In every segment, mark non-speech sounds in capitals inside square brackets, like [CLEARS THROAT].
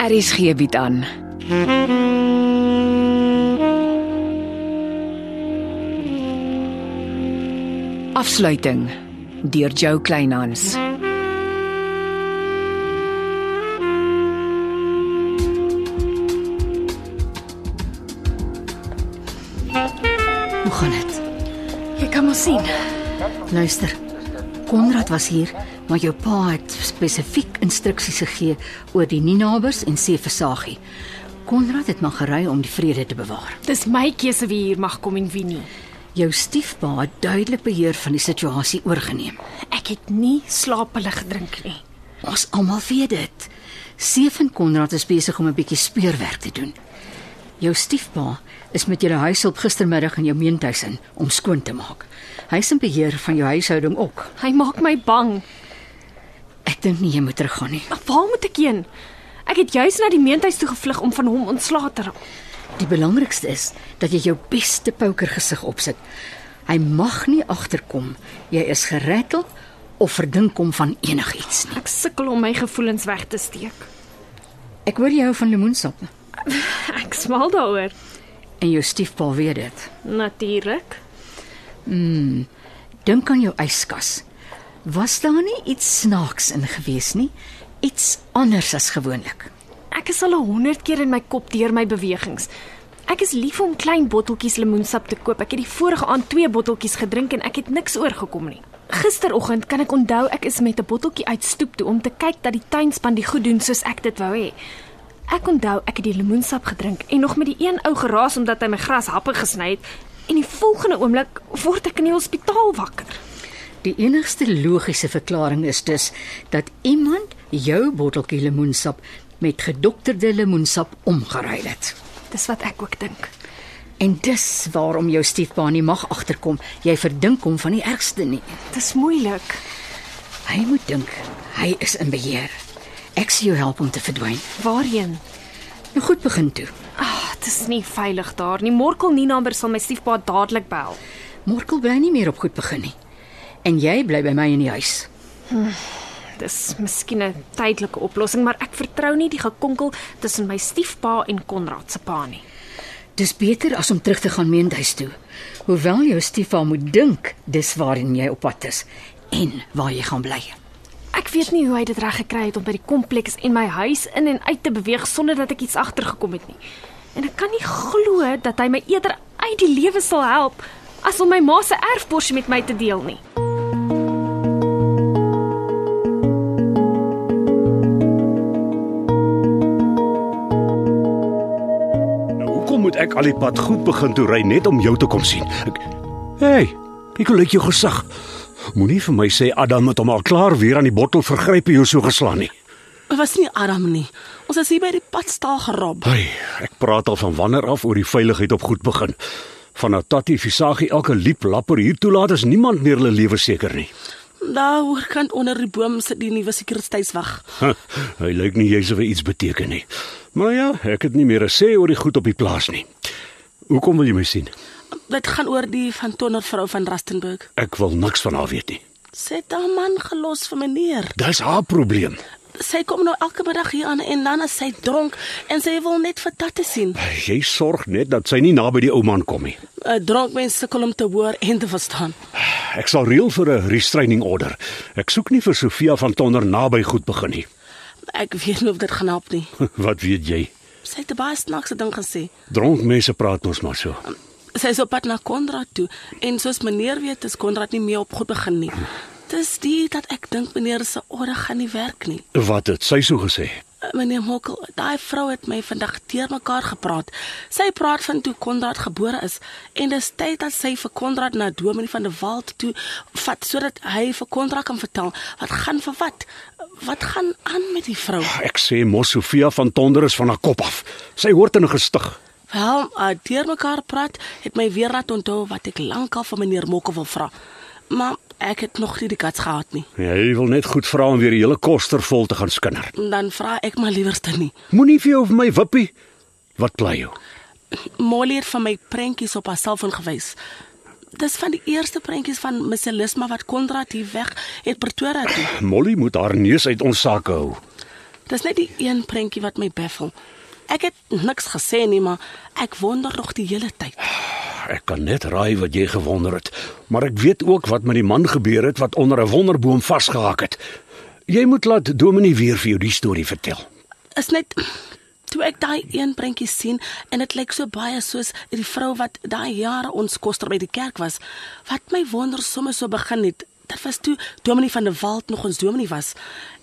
Aries gee bied Er aan. Afsluiting deur Jo Kleinhans. Hoe gaan dit? Jy kan maar sien. Luister. Konrad was hier, maar jou pa het spesifiek instruksies gegee oor die Ninabers en Seeversagie. Konrad het maar gery om die vrede te bewaar. Dis my keuse wie hier mag kom en wie nie. Jou stiefpa het duidelik beheer van die situasie oorgeneem. Ek het nie slaaphulle gedrink nie. Ons almal weet dit. Seef en Konrad is besig om 'n bietjie speurwerk te doen. Jou stiefpa is met julle huishulp gistermiddag in jou meentuis in om skoon te maak. Hy is in beheer van jou huishouding ook. Hy maak my bang. Ek dink nie jy moet teruggaan nie. Maar Waar moet ek heen? Ek het juis na die meentuis toe gevlug om van hom ontslae te raak. Die belangrikste is dat jy jou beste pokergesig opsit. Hy mag nie agterkom jy is gerettel of verdink hom van enigiets nie. Ek sukkel om my gevoelens weg te steek. Ek hoor jy hou van lemoensap Ek smal daaroor. en jou stiefpa weet dit. Natuurlik. Dink aan jou yskas. Was daar nie iets snaaks in gewees nie? Iets anders as gewoonlik. Ek is al 100 keer in my kop deur my bewegings. Ek is lief om klein botteltjies lemoensap te koop. Ek het die vorige aand twee botteltjies gedrink en ek het niks oorgekom nie. Gisteroggend kan ek onthou ek is met 'n botteltjie uit stoep toe om te kyk dat die tuinspan die goed doen soos ek dit wou hê. Ek onthou ek het die lemoensap gedrink en nog met die een ou geraas omdat hy my gras happe gesny het en die volgende oomblik word ek in die hospitaal wakker. Die enigste logiese verklaring is dus dat iemand jou botteltjie lemoensap met gedokterde lemoensap omgeruil het. Dis wat ek ook dink. En dis waarom jou stiefpa nie mag agterkom. Jy verdink hom van die ergste nie. Dis moeilik. Hy moet dink hy is in beheer. Ek sien jou help om te verdwyn. Waarheen? Nou goed begin toe. Ag, dit is Ah, nie veilig daar nie. Morkel Nina amper sal my stiefpa dadelik bel. Morkel bly nie meer op goed begin nie. En jy bly by my in die huis. Dis miskien 'n tydelike oplossing, maar ek vertrou nie die gekonkel tussen my stiefpa en Konrad se pa nie. Dis beter as om terug te gaan meenhuis toe. Hoewel jou stiefpa moet dink dis waarheen jy op pad is en waar jy gaan bly. Ek weet nie hoe hy dit reg gekry het om by die kompleks en my huis in en uit te beweeg sonder dat ek iets agtergekom het nie. En ek kan nie glo dat hy my eerder uit die lewe sal help as om my ma se erfborsie met my te deel nie. Nou hoekom moet ek al die pad goed begin toe ry net om jou te kom sien? Ek Hey, kyk hoe lyk jou gesig. Moenie vir my sê Adam het hom al klaar weer aan die bottel vergryp en jou so geslaan nie. Dit was nie Adam nie. Ons is hier by die padstaal gerob. Hey, ek praat al van wanneer af oor die veiligheid op goed begin. Van Natati Visagie elke liep lapper hier toelaat is niemand meer hulle lewe seker nie. Daar hoor kan onder die boom sit die nuwe sekuriteitswag. Huh, hy lyk nie jy's of hy iets beteken nie. Maar ja, ek het nie meer 'n sê oor die goed op die plaas nie. Hoekom wil jy my sien? Dit gaan oor die van Tonner vrou van Rustenburg. Ek wil niks van haar weet nie. Sy het haar man gelos vir meneer. Dis haar probleem. Sy kom nou elke middag hier aan en dan is sy dronk en sy wil net vir tatte sien. Jy sorg net dat sy nie naby die ou man kom nie. 'n Dronk mens sukkel om te hoor en te verstaan. Ek sal reël vir 'n restraining order. Ek soek nie vir Sofia van Tonder naby goed begin nie. [LAUGHS] Ek weet nie of dit gaan help nie. Wat weet jy? Sy het 'n baie snaakse ding gesê. Dronk mense praat mos maar so. Sy is op pad na Konrad toe en soos meneer weet, is Konrad nie meer op goed begin nie. Dis die dat ek dink meneer se ore gaan nie werk nie. Wat het sy so gesê? Uh, Meneer Mokkel, daai vrou het my vandag teermekaar gepraat. Sy praat van toe Konrad gebore is en dis tyd dat sy vir Konrad na Dominie van der Walt toe vat sodat hy vir Konrad kan vertel wat gaan vir wat. Wat gaan aan met die vrou? Ek sê mos Sofia van Tonder is van haar kop af. Sy hoort in 'n gestig. Wel, uh, teermekaar praat het my weer laat onthou wat ek lankal van meneer Mokkel wil vra. Maar ek het nog nie die kans gehad nie. Jy wil net goed vra om weer die hele koster vol te gaan skinder. Dan vra ek maar liewerste nie. Moenie vir jou of my wippie. Wat pla jy? Molly het van my prentjies op haar selfoon gewys. Dis van die eerste prentjies van Miss Elisma wat Konrad hier weg het Pretoria toe. Molly moet haar neus uit ons sakke hou. Dis net die een prentjie wat my baffel. Ek het niks gesê nie, maar ek wonder nog die hele tyd. Ek kan net raai wat jy gewonder het, maar ek weet ook wat met die man gebeur het wat onder 'n wonderboom vasgehaak het. Jy moet laat Dominee weer vir jou die storie vertel. is net toe ek daai een prentjie sien en dit lyk so baie soos die vrou wat daai jare ons koster by die kerk was wat my wonder sommer so begin het dit was toe Dominee van der Walt nog ons dominee was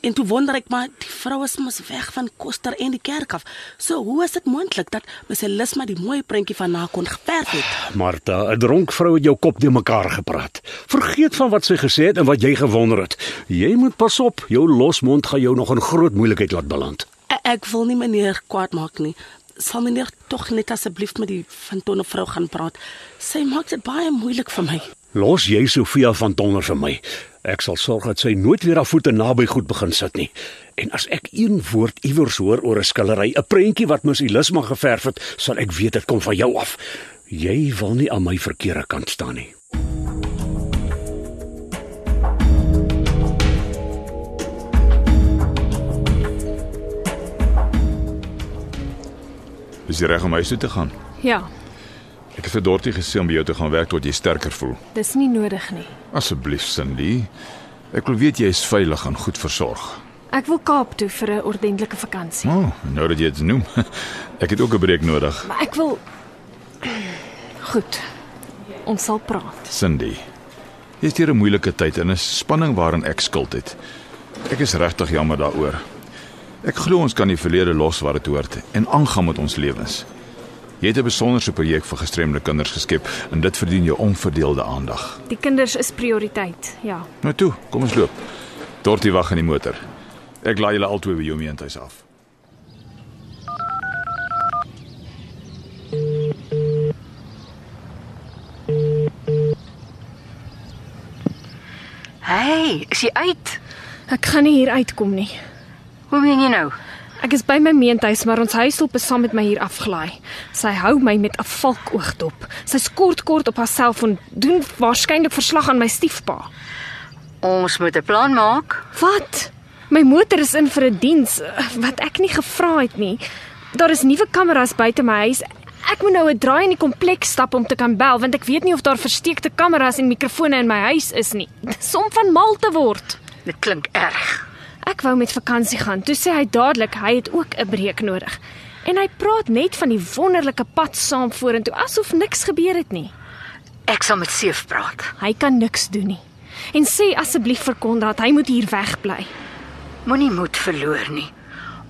en toe wonder ek maar die vrou is mos weg van koster en die kerk af so hoe is dit moontlik dat mes Elisma die mooi prentjie van haar kon geverf het Martha, 'n dronk vrou het jou kop de mekaar gepraat. Vergeet van wat sy gesê het en wat jy gewonder het. Jy moet pas op, jou losmond gaan jou nog in groot moeilikheid laat beland. E- ek wil nie meneer kwaad maak nie sal meneer tog net asseblief met die van Tonne vrou gaan praat sy maak dit baie moeilik vir my Los jy Sofia van Tonder vir my. Ek sal sorg dat sy nooit weer haar voete naby goed begin sit nie. En as ek een woord iewers hoor oor 'n skildery, 'n prentjie wat Ms Elisma geverf het, sal ek weet dit kom van jou af. Jy wil nie aan my verkeerde kant staan nie. Is jy reg om huis toe te gaan? Ja, Ek het vir Dortie gesê om by jou te gaan werk tot jy sterker voel. dis nie nodig nie. Asseblief, Cindy. Ek wil weet jy is veilig en goed versorg. Ek wil Kaap toe vir 'n ordentlike vakansie. O, oh, nou dat jy dit noem. [LAUGHS] Ek het ook 'n breek nodig, Maar ek wil Goed. Ons sal praat. Cindy. Jy is deur 'n moeilike tyd en 'n spanning waaraan ek skuld het. Ek is regtig jammer daaroor. Ek glo ons kan die verlede los wat dit hoort en aangaan met ons lewens. Jy het 'n besonderse projek vir gestremde kinders geskep en dit verdien jou onverdeelde aandag. Die kinders is prioriteit. Ja. Nou toe, kom ons loop. Dortie wag in die motor. Ek laai julle altoe by jou meentuis af. Hey, is jy uit? Ek gaan nie hier uitkom nie. Hoe meen jy nou? Ek is by my meentuis, maar ons huishulp is saam met my hier afgelaai. Sy hou my met 'n valkoog dop. Sy skort kort op haarself en doen waarskynlik verslag aan my stiefpa. Ons moet 'n plan maak. Wat? My motor is in vir 'n diens eh, wat ek nie gevra het nie. Daar is nuwe kameras buite my huis. Ek moet nou 'n draai in die kompleks stap om te kan bel want ek weet nie of daar versteekte kameras en mikrofone in my huis is nie. Dis om van mal te word. Dit klink erg. Ek wou met vakansie gaan. Toe sê hy dadelik hy het ook 'n breek nodig. En hy praat net van die wonderlike pad saam vorentoe asof niks gebeur het nie. Ek sal met Seef praat. Hy kan niks doen nie. En sê asseblief vir Konrad, hy moet hier wegbly. Moenie moed verloor nie.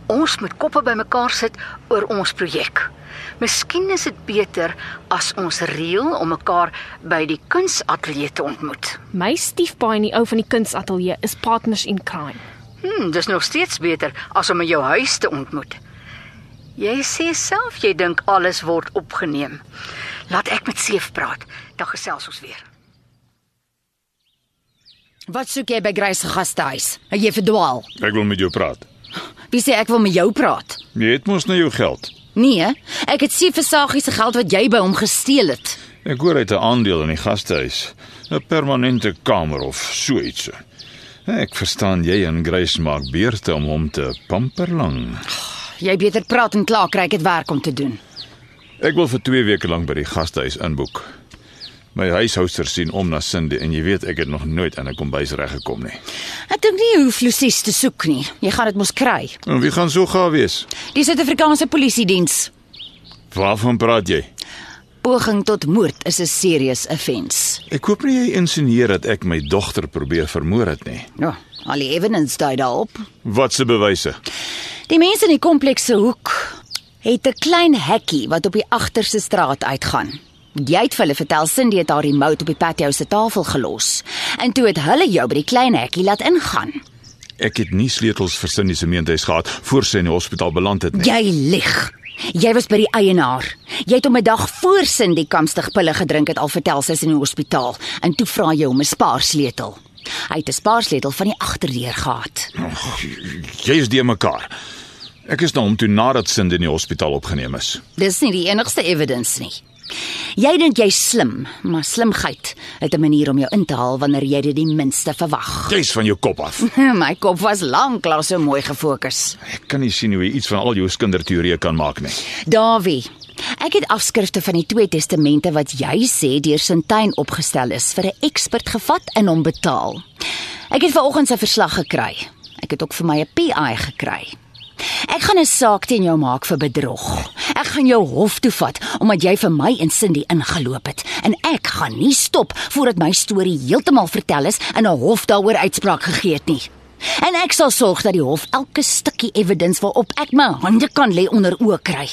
Ons moet koppe bymekaar sit oor ons projek. Miskien is dit beter as ons reël om mekaar by die kunsatelier te ontmoet. My stiefpa en die ou van die kunsateljee is partners in crime. Hm, dis nog steeds beter as om in jou huis te ontmoet. Jy sê self jy dink alles word opgeneem. Laat ek met Seef praat, dan gesels ons weer. Wat soek jy by Grace se gastehuis? Het Jy verdwaal. Ek wil met jou praat. Wie sê ek wil met jou praat? Jy het mos nou jou geld. Nee, ek het sien vir Sagie se geld wat jy by hom gesteel het. Ek hoor hy het 'n aandeel in die gastehuis, 'n permanente kamer of so iets. Ek verstaan jy en Grace maak beurte om hom te pamperlang. Jy beter praat en klaar kry ek het werk om te doen. Ek wil vir 2 weke lank by die gastehuis inboek. My huishouster sien om na Cindy en jy weet ek het nog nooit in 'n kombuis reggekom nie. Ek dink nie jy hoef Lucies te soek nie. Jy gaan dit mos kry. En wie gaan so gaaf wees? Die Suid-Afrikaanse Polisiediens. Waarvan praat jy? Poging tot moord is 'n serious offence. Ek hoop nie jy insinueer dat ek my dogter probeer vermoor het nie. Ja, al die evidence dui daarop. Wat se bewyse? Die mense in die kompleks se hoek het 'n klein hekkie wat op die agterste straat uitgaan. Jy het vir hulle vertel Cindy het haar remote op die patio se tafel gelos en toe het hulle jou by die klein hekkie laat ingaan. Ek het nie sleutels vir Cindy se meentuis gehad voor sy in die hospitaal beland het nie. Jy lieg. Jy was by die eienaar. Jy het hom 'n dag voor Cindy kamstig pille gedrink het al vertel sy's in die hospitaal en toe vra jy hom 'n spaarsleutel. Hy het 'n spaarsleutel van die agterdeur gehad. Ag, Jy is die mekaar. Ek is na hom toe nadat Cindy in die hospitaal opgeneem is. Dis nie die enigste evidence nie. Jy dink jy's slim, maar slimheid het 'n manier om jou in te haal wanneer jy dit die minste verwag. [LAUGHS] Jy's van jou kop af. My kop was lanklaas so mooi gefokus. Ek kan nie sien hoe jy iets van al jou kinderteorieë kan maak nie. Dawie, ek het afskrifte van die twee testamente wat jy sê deur Sintyn opgestel is vir 'n ekspert gevat en hom betaal. Ek het vanoggend sy verslag gekry. Ek het ook vir my 'n PI gekry. Ek gaan 'n saak teen jou maak vir bedrog. Ek gaan jou hof toe vat omdat jy vir my en Cindy ingeloop het en ek gaan nie stop voordat my storie heeltemal vertel is en 'n hof daaroor uitspraak gegee het nie. En ek sal sorg dat die hof elke stukkie evidens waarop ek my hande kan lê onder oë kry.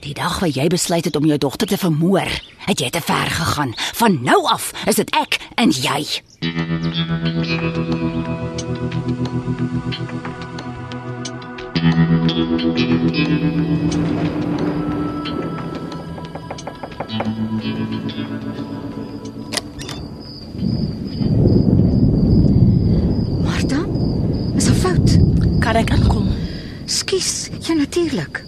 Die dag wat jy besluit het om jou dogter te vermoor, het jy te ver gegaan. Van nou af is dit ek en jy. Martha? Is 'n fout. Kan ek inkom? Skus, ja natuurlik.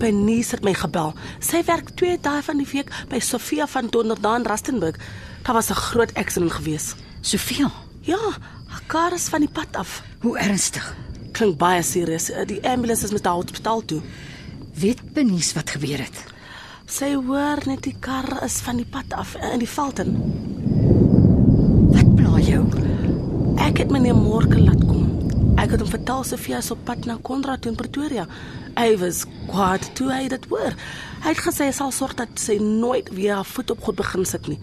Benies het my gebel. Sy werk 2 dae van die week by Sofia van Donderdaan Rustenburg. Daar was 'n groot aksident gewees. Sofia, Ja, haar kar is van die pad af. hoe ernstig? Klink baie serieus. Eh, Die ambulance is met haar hospitaal toe. Weet Benies wat gebeur het? Sy hoor net die kar is van die pad af eh, in die veld in. Wat pla jou? Ek het meneer Morkel laat kom. Ek het hom vertel Sofia is op pad na Konrad toe in Pretoria. Hy was kwaad toe hy dit hoor. Hy het gesê hy sal sorg dat sy nooit weer haar voet op goed begin sit nie.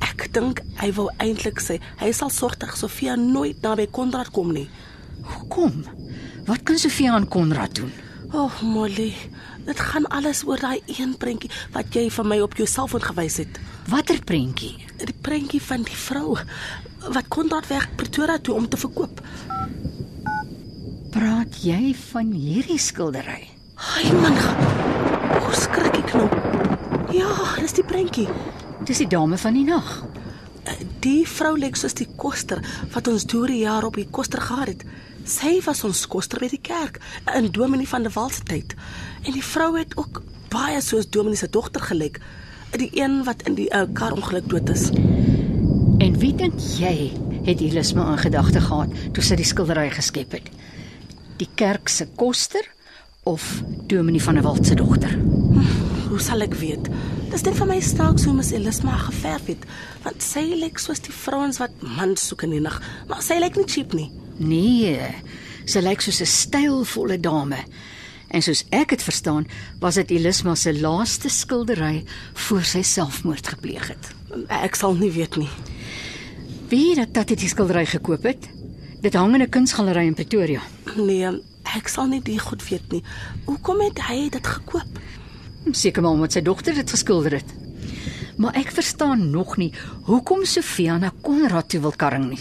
Ek dink hy wou eintlik sê hy sal sorg dat Sofia nooit naby Konrad kom nie. Hoekom? Wat kan Sofia aan Konrad doen? O, oh, Molly, dit gaan alles oor daai een prentjie wat jy vir my op jou selfoon gewys het. Watter prentjie? Die prentjie van die vrou wat Konrad weg Pretoria toe om te verkoop. Praat jy van hierdie skildery? Ai man, ge- hoe skrik ek nou? Ja, dis die prentjie. Eh, Dis die dame van die nag. Die vrou lyk soos die koster wat ons deur die jaar op die koster gehad het. Sy was ons koster by die kerk in Dominee van der Walt se tyd. En die vrou het ook baie soos Dominee se dogter gelyk, die een wat in die uh, karongeluk dood is. En wie dink jy het Ilisma in gedagte gehad toe sy die skildery geskep het? Die kerk se koster of Dominee van der Walt se dogter? Hoe sal ek weet? Dis net vir my snaaks hoe Miss Elisma geverf het, want sy lyk soos die vrouens wat mans soek in die nag, maar sy lyk nie cheap nie. Nee, sy lyk soos 'n stylvolle dame. En soos ek dit verstaan, was dit Ilisma se laaste skildery voor sy selfmoord gepleeg het. Ek sal nie weet nie. Wie dat Tatie die skildery gekoop het? Dit hang in 'n kunsgalery in Pretoria. [CLEARS THROAT] Nee, ek sal nie die goed weet nie. Hoekom het hy dit gekoop? Seker maar omdat sy dogter dit geskilder het. Maar ek verstaan nog nie hoekom Sofia na Konrad toe wil karring nie.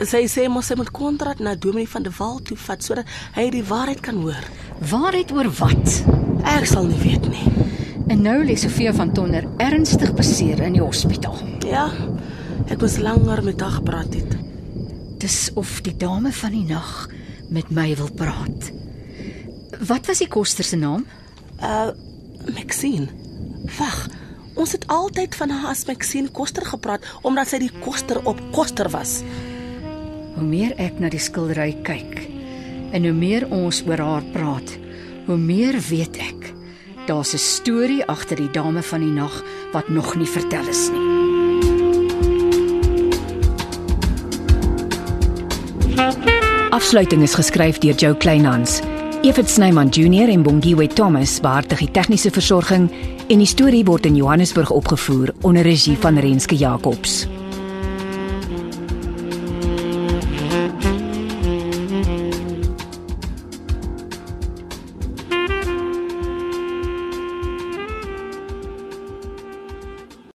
Sy sê mos sy moet kontrak na Dominee van der Walt toe vat sodat hy die waarheid kan hoor. Waarheid oor wat? Ek sal nie weet nie. En nou lê Sofia van Tonner ernstig beseer in die hospitaal. Ja. Ek was langer met haar gepraat het. Dis of die dame van die nag met my wil praat. Wat was die koster se naam? Uh Maxine. Wag. Ons het altyd van haar as Maxine Koster gepraat omdat sy die koster op koster was. Hoe meer ek na die skildery kyk en hoe meer ons oor haar praat, hoe meer weet ek. Daar's 'n storie agter die dame van die nag wat nog nie vertel is nie. Afsluiting is geskryf deur Jo Kleinhans. Evit Snyman Junior en Bongwe Thomas beheerdig die tegniese versorging en die storie word in Johannesburg opgevoer onder regie van Renske Jacobs.